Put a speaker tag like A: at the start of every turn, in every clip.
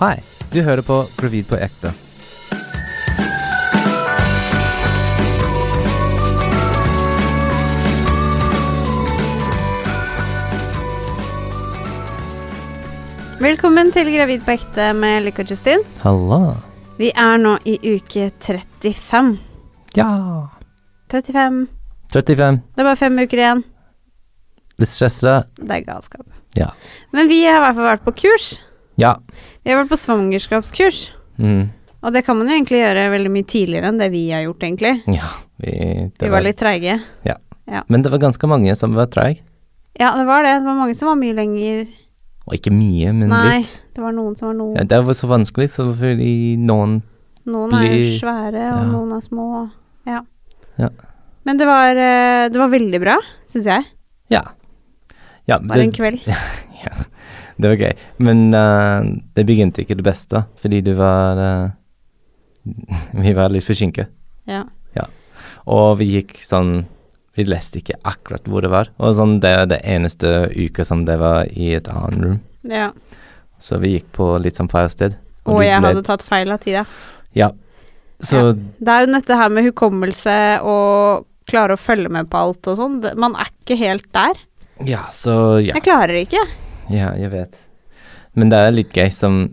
A: Hei, du hører på Gravid på ekte.
B: Velkommen til Gravid på ekte med Lykke og Justin.
A: Halla.
B: Vi er nå i uke 35.
A: Ja.
B: 35.
A: 35.
B: Det er bare fem uker igjen.
A: Litt stressa.
B: Det er galskap.
A: Ja.
B: Men vi har i hvert fall vært på kurs.
A: Ja.
B: Vi har vært på svangerskapskurs.
A: Mm.
B: Og det kan man jo egentlig gjøre veldig mye tidligere enn det vi har gjort, egentlig.
A: Ja. Vi, det
B: Vi var litt treige.
A: Men det var ganske mange som var treige.
B: Ja, det var det. Det var mange som var mye lenger.
A: Og ikke mye, men
B: Nei,
A: litt.
B: det var noen som var
A: Ja,
B: noen.
A: det var så vanskelig, så fordi noen
B: Noen er jo
A: blir-
B: svære, og
A: ja.
B: noen er små. Ja.
A: Ja.
B: Men det var, eh, det var veldig bra, syns jeg.
A: Ja. Ja,
B: Bare en
A: det,
B: kveld.
A: det var gøy. Men eh, det begynte ikke det beste, fordi du var eh, Vi var litt forsinket.
B: Ja.
A: Og vi gikk sånn Vi leste ikke akkurat hvor det var. Og sånn, det er det eneste uka som det var i et annet rom.
B: ja.
A: Så vi gikk på litt sånn feil sted.
B: Og
A: du
B: jeg
A: ble-
B: hadde tatt feil av tida.
A: Så
B: Det er jo dette her med hukommelse og klare å følge med på alt og sånn. Det- Man er ikke helt der.
A: ja, så ja.
B: Jeg klarer det ikke.
A: Ja, jeg vet. Men det er litt gøy som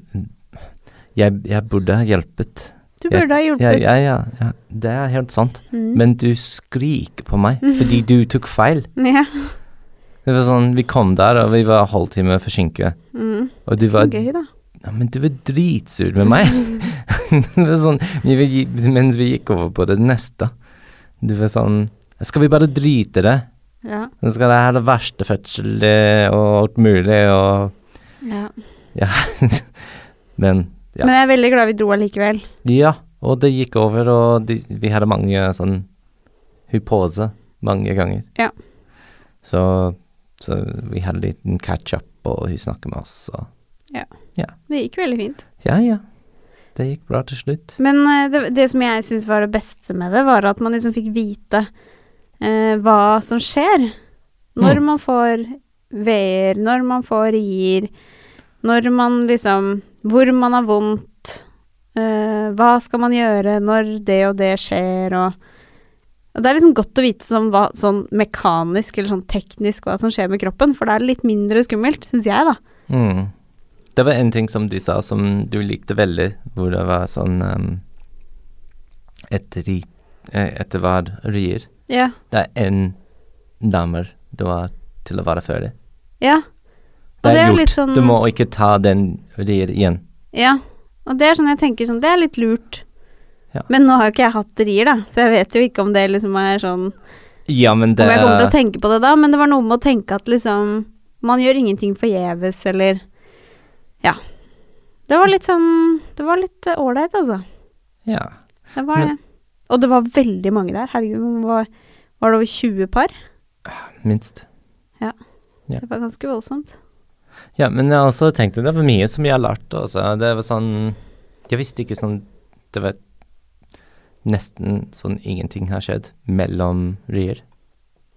A: Jeg, jeg burde ha hjulpet.
B: Du
A: Jeg-
B: burde ha hjulpet.
A: Ja, ja, ja, ja. Det er helt sant.
B: Mm.
A: Men du skriker på meg fordi du tok feil.
B: ja.
A: Det var sånn, Vi kom der, og vi var halvtime forsinket.
B: Mm.
A: Og du var
B: Gøy, da.
A: Ja, men du var dritsur med meg. det var sånn, vi, vi- mens vi gikk over på det neste. Du var sånn Skal vi bare drite i det?
B: Ja.
A: Nå skal det her det verste fødsel eh, og alt mulig og
B: ja.
A: Men Ja.
B: Men jeg er veldig glad vi dro allikevel.
A: ja, og det gikk over, og de, vi hadde mange sånn hypose mange ganger.
B: Ja.
A: Så, så vi hadde en liten catch-up, og hun snakket med oss, og
B: Det gikk veldig fint.
A: Ja, ja. Det gikk bra til slutt.
B: Men eh, det, det som jeg syns var det beste med det, var at man liksom fikk vite eh, hva som skjer. Når
A: Mm.
B: man får veier, når man får rier, når man liksom Hvor man har vondt, eh, hva skal man gjøre når det og det skjer, og og Det er liksom godt å vite sånn, hva, sånn mekanisk eller sånn teknisk hva som skjer med kroppen, for det er litt mindre skummelt, syns jeg, da.
A: Mm. Det var en ting som de sa som du likte veldig, hvor det var sånn um, et ri, eh, Etter hver rier.
B: Ja.
A: Det er én damer du har til å være ferdig.
B: ja. Og
A: Det er,
B: det er
A: gjort.
B: litt sånn-
A: Du må ikke ta den rier igjen.
B: Ja, og det er sånn jeg tenker sånn, det er litt lurt.
A: Ja.
B: Men nå har jo ikke jeg hatt rier, da, så jeg vet jo ikke om det liksom er sånn
A: Ja, men det
B: Om jeg kommer til å tenke på det da, men det var noe med å tenke at liksom Man gjør ingenting forgjeves, eller Ja. Det var litt sånn Det var litt eh, ålreit, altså.
A: Ja.
B: Det var
A: Men-
B: det. Og det var veldig mange der. Herregud, hvor mange var, var det over 20 par?
A: Minst. Ja.
B: Det var ganske voldsomt.
A: Ja, men jeg også tenkte det var mye som jeg lærte, altså. Det var sånn Jeg visste ikke sånn Det var nesten sånn ingenting har skjedd mellom rier.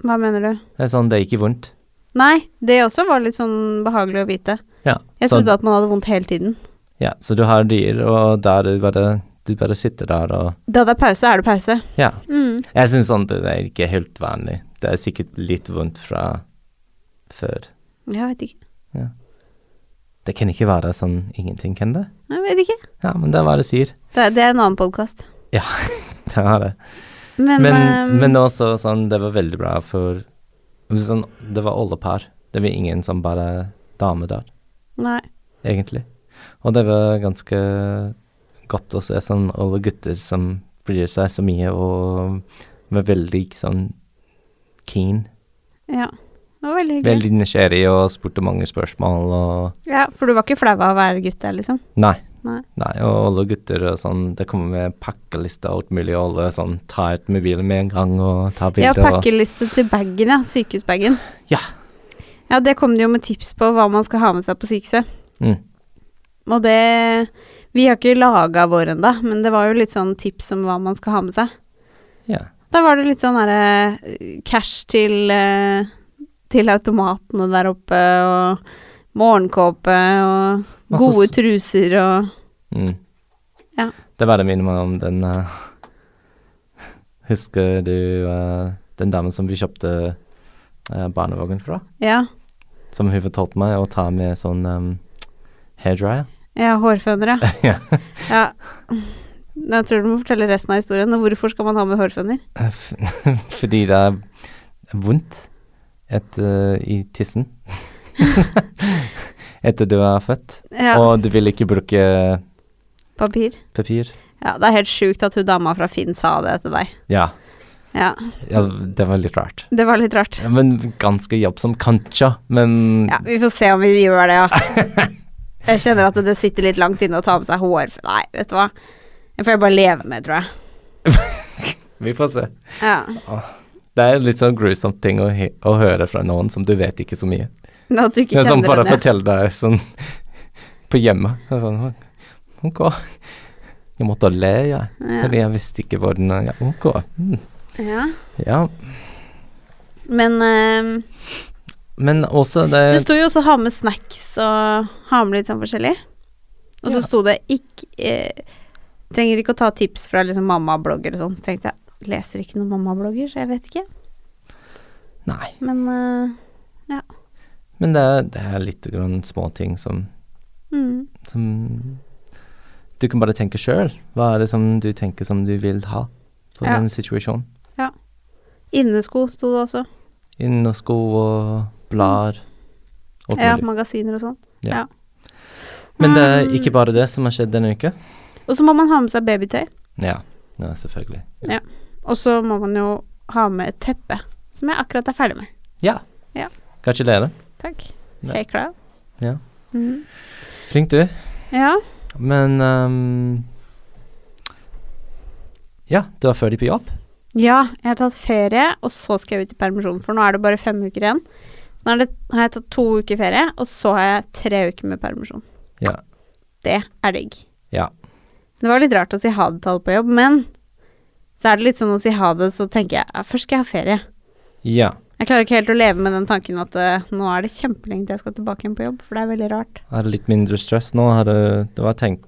B: Hva mener du?
A: Det er sånn, det er ikke vondt.
B: Nei, det også var litt sånn behagelig å vite.
A: Ja,
B: Jeg
A: så-
B: trodde at man hadde vondt hele tiden.
A: Ja, så du har dyr, og der du bare, du bare sitter der og
B: Da det er pause, er det pause.
A: Ja.
B: Mm.
A: Jeg syns sånn det er ikke helt vanlig. Det er sikkert litt vondt fra før.
B: Jeg vet ikke.
A: Det kan ikke være sånn ingenting, kan det?
B: Jeg vet ikke.
A: Ja, men det er hva det sier.
B: Det, er- det er en annen podkast.
A: Det er det.
B: Men,
A: Men,
B: ehm,
A: men også sånn, det var veldig bra for sånn, Det var alle par. Det var ingen som bare dame der,
B: Nei.
A: egentlig. Og det var ganske godt å se sånn alle gutter som bryr seg så mye og var veldig sånn keen
B: Ja. Det var veldig hyggelig.
A: Veldig nysgjerrig og spurte mange spørsmål og
B: Ja, for du var ikke flau av å være gutt der, liksom?
A: Nei.
B: Nei.
A: og alle gutter og sånn Det kommer med pakkelister og alt mulig, og alle sånn Ta ut mobilen med en gang og ta
B: Ja,
A: bilder og
B: pakkeliste til bagen, ja. Sykehusbagen.
A: Ja.
B: Ja, det kom det jo med tips på hva man skal ha med seg på sykehuset.
A: Mm.
B: Og det Vi har ikke laga vår ennå, men det var jo litt sånn tips om hva man skal ha med seg.
A: Ja.
B: Da var det litt sånn derre eh, cash til eh, til automatene der oppe, og morgenkåpe og
A: Masse
B: Gode
A: s-
B: truser og
A: Mm.
B: Ja.
A: Det var det minner meg om den eh, Husker du eh, den damen som vi kjøpte eh, barnevognen fra?
B: Ja.
A: Som hun fortalte meg å ta med sånn um, hairdryer.
B: ja hårfønere.
A: Ja.
B: ja. Jeg tror du må fortelle resten av historien. og Hvorfor skal man ha med hårføner?
A: F- Fordi det er vondt et, eh, i tissen etter du er født.
B: Ja,
A: Og du vil ikke bruke
B: papir.
A: papir.
B: Ja, det er helt sjukt at hun dama fra Finn sa det til deg.
A: Ja,
B: Ja,
A: ja, det var litt rart.
B: det var litt rart.
A: Ja, Men ganske jobbsom, kanskje. Men
B: Ja, vi får se om vi gjør det, ja. Jeg kjenner at det sitter litt langt inne å ta med seg hår. Nei, vet du hva. Det får jeg bare leve med, tror jeg.
A: vi får se.
B: Ja.
A: Det er litt sånn grusomt ting å, he- å høre fra noen som du vet ikke så mye.
B: Men At du ikke
A: Det er sånn
B: kjenner
A: bare
B: henne.
A: fortelle deg sånn på hjemme. Det er Sånn, ok. Jeg måtte le, jeg. Fordi
B: Ja.
A: jeg visste ikke hvor den ja, Ok. Mm.
B: Ja.
A: Ja.
B: Men ehm,
A: Men også
B: det
A: det
B: sto jo også 'ha med snacks' og 'ha med litt sånn forskjellig'. Og så
A: Ja.
B: sto det ikke eh, 'Trenger ikke å ta tips fra liksom mammablogger og sånn'. Så tenkte jeg leser ikke noen mammablogger, så jeg vet ikke.
A: Nei.
B: Men eh,
A: Men det er, det er litt grann småting som,
B: mm.
A: som Du kan bare tenke sjøl. Hva er det som du tenker som du vil ha for
B: Ja.
A: den situasjonen?
B: Innesko sto det også.
A: Innersko og blader. Alt
B: Ja,
A: mulig.
B: magasiner og sånn.
A: Ja.
B: Ja.
A: Men det er ikke bare det som har skjedd denne uka.
B: Og så må man ha med seg babytøy.
A: Ja, ja selvfølgelig.
B: Og så må man jo ha med et teppe, som jeg akkurat er ferdig med.
A: Ja.
B: Ja.
A: Gratulerer.
B: Takk.
A: Ja.
B: Hekla.
A: Ja.
B: Mhm.
A: Flink du.
B: ja.
A: Men ehm, Ja, du er ferdig på jobb?
B: Ja, jeg har tatt ferie, og så skal jeg ut i permisjon, for nå er det bare fem uker igjen. Nå er det, har jeg tatt to uker ferie, og så har jeg tre uker med permisjon.
A: Ja.
B: Det er digg.
A: Ja.
B: Det var litt rart å si ha det-tall på jobb, men så er det litt sånn å si ha det, så tenker jeg ja, først skal jeg ha ferie.
A: Ja.
B: Jeg klarer ikke helt å leve med den tanken at eh, nå er det kjempelenge til jeg skal tilbake igjen på jobb, for det er veldig rart.
A: Er det litt mindre stress nå? Har du, du har tenkt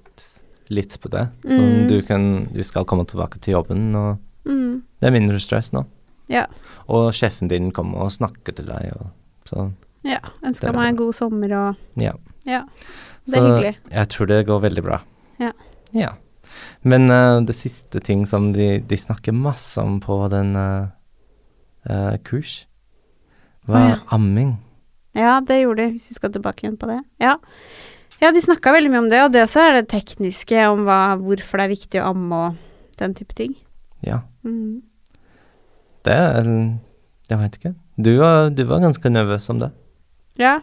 A: litt på det? Så
B: Mm.
A: du, kan, du skal komme tilbake til jobben, og
B: Mm.
A: det er mindre stress nå.
B: Ja.
A: Og sjefen din kommer og snakker til deg, og sånn. så
B: Ja.
A: Det er
B: Ønska meg en god sommer og
A: Ja.
B: Ja. Det er
A: Så
B: hyggelig.
A: Jeg tror det går veldig bra.
B: Ja.
A: Ja. Men eh, det siste ting som de, de snakker masse om på den eh, eh, kurs, var
B: Å, ja.
A: amming.
B: Ja, det gjorde de, hvis vi skal tilbake igjen på det. Ja, ja de snakka veldig mye om det, og det også er det tekniske om hva, hvorfor det er viktig å amme og den type ting.
A: Ja,
B: Mm.
A: det er Jeg vet ikke. Du var, du var ganske nervøs om det.
B: Ja.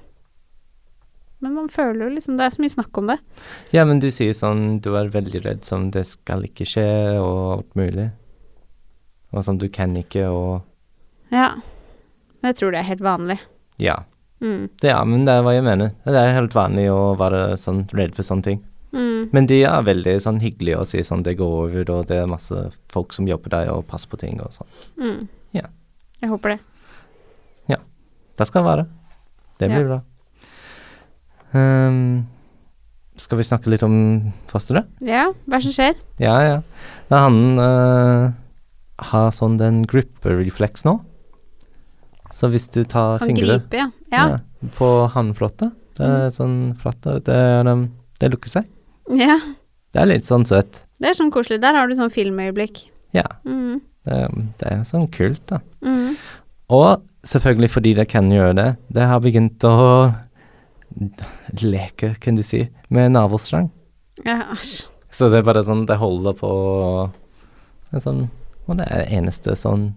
B: Men man føler jo liksom Det er så mye snakk om det.
A: Ja, men du sier sånn du er veldig redd som det skal ikke skje, og alt mulig. Og sånn du kan ikke, og
B: Ja. Men jeg tror det er helt vanlig.
A: Ja.
B: Mm.
A: Det, ja, men det er hva jeg mener. Det er helt vanlig å være sånn redd for sånne ting.
B: Mm.
A: Men de er veldig sånn hyggelige og sier sånn det går over, og det er masse folk som jobber der og passer på ting og sånn.
B: Mm.
A: Ja.
B: Jeg håper det.
A: Det skal være. Det blir bra. Ehm, skal vi snakke litt om fosteret?
B: Ja, hva er det som skjer?
A: Ja, ja. Da han eh, har sånn den grupperefleks nå. Så hvis du tar
B: Kan
A: fingre
B: gripe, ja. Ja.
A: på håndflata, det er sånn flata, det, er, um, det lukker seg.
B: ja.
A: Det er litt sånn søtt.
B: Det er sånn koselig. Der har du sånn filmøyeblikk.
A: Ja.
B: Mm.
A: Det, det er sånn kult, da.
B: Mm.
A: Og selvfølgelig fordi det kan gjøre det, det har begynt å leke, kan du si, med navelstrang.
B: Ja, æsj.
A: Så det er bare sånn, det holder på det er sånn, Og det er det eneste sånn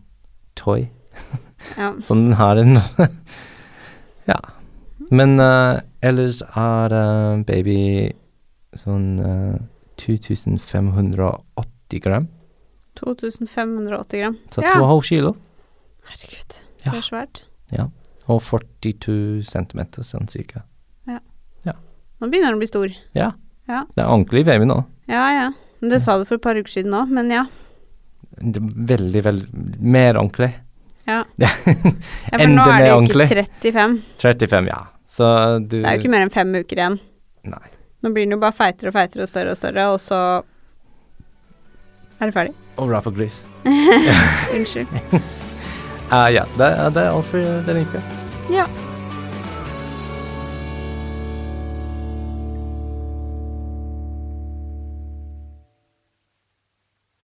A: toy
B: Ja.
A: som den har en Ja. Men eh, ellers er eh, baby sånn eh, 2580 gram,
B: 2580 gram.
A: så
B: Ja.
A: 2,5 kilo.
B: Herregud,
A: Ja.
B: det er svært.
A: Og 42 centimeter, sånn cirka.
B: Nå begynner den å bli stor.
A: Det er ordentlig baby nå.
B: Ja, ja. Men det sa du for et par uker siden òg, men ja.
A: Det er Veldig, veldig Mer ordentlig.
B: Ja. ja for
A: Enda
B: nå er
A: mer
B: det jo
A: ordentlig.
B: ikke 35.
A: 35, ja. Så du
B: Det er jo ikke mer enn fem uker igjen.
A: Nei.
B: Nå blir den jo bare feitere og feitere og større og større, og så er det ferdig.
A: Og bra på gris.
B: Unnskyld.
A: Ah, Eh, ja, det, det er alt for denne uka.
B: Ja.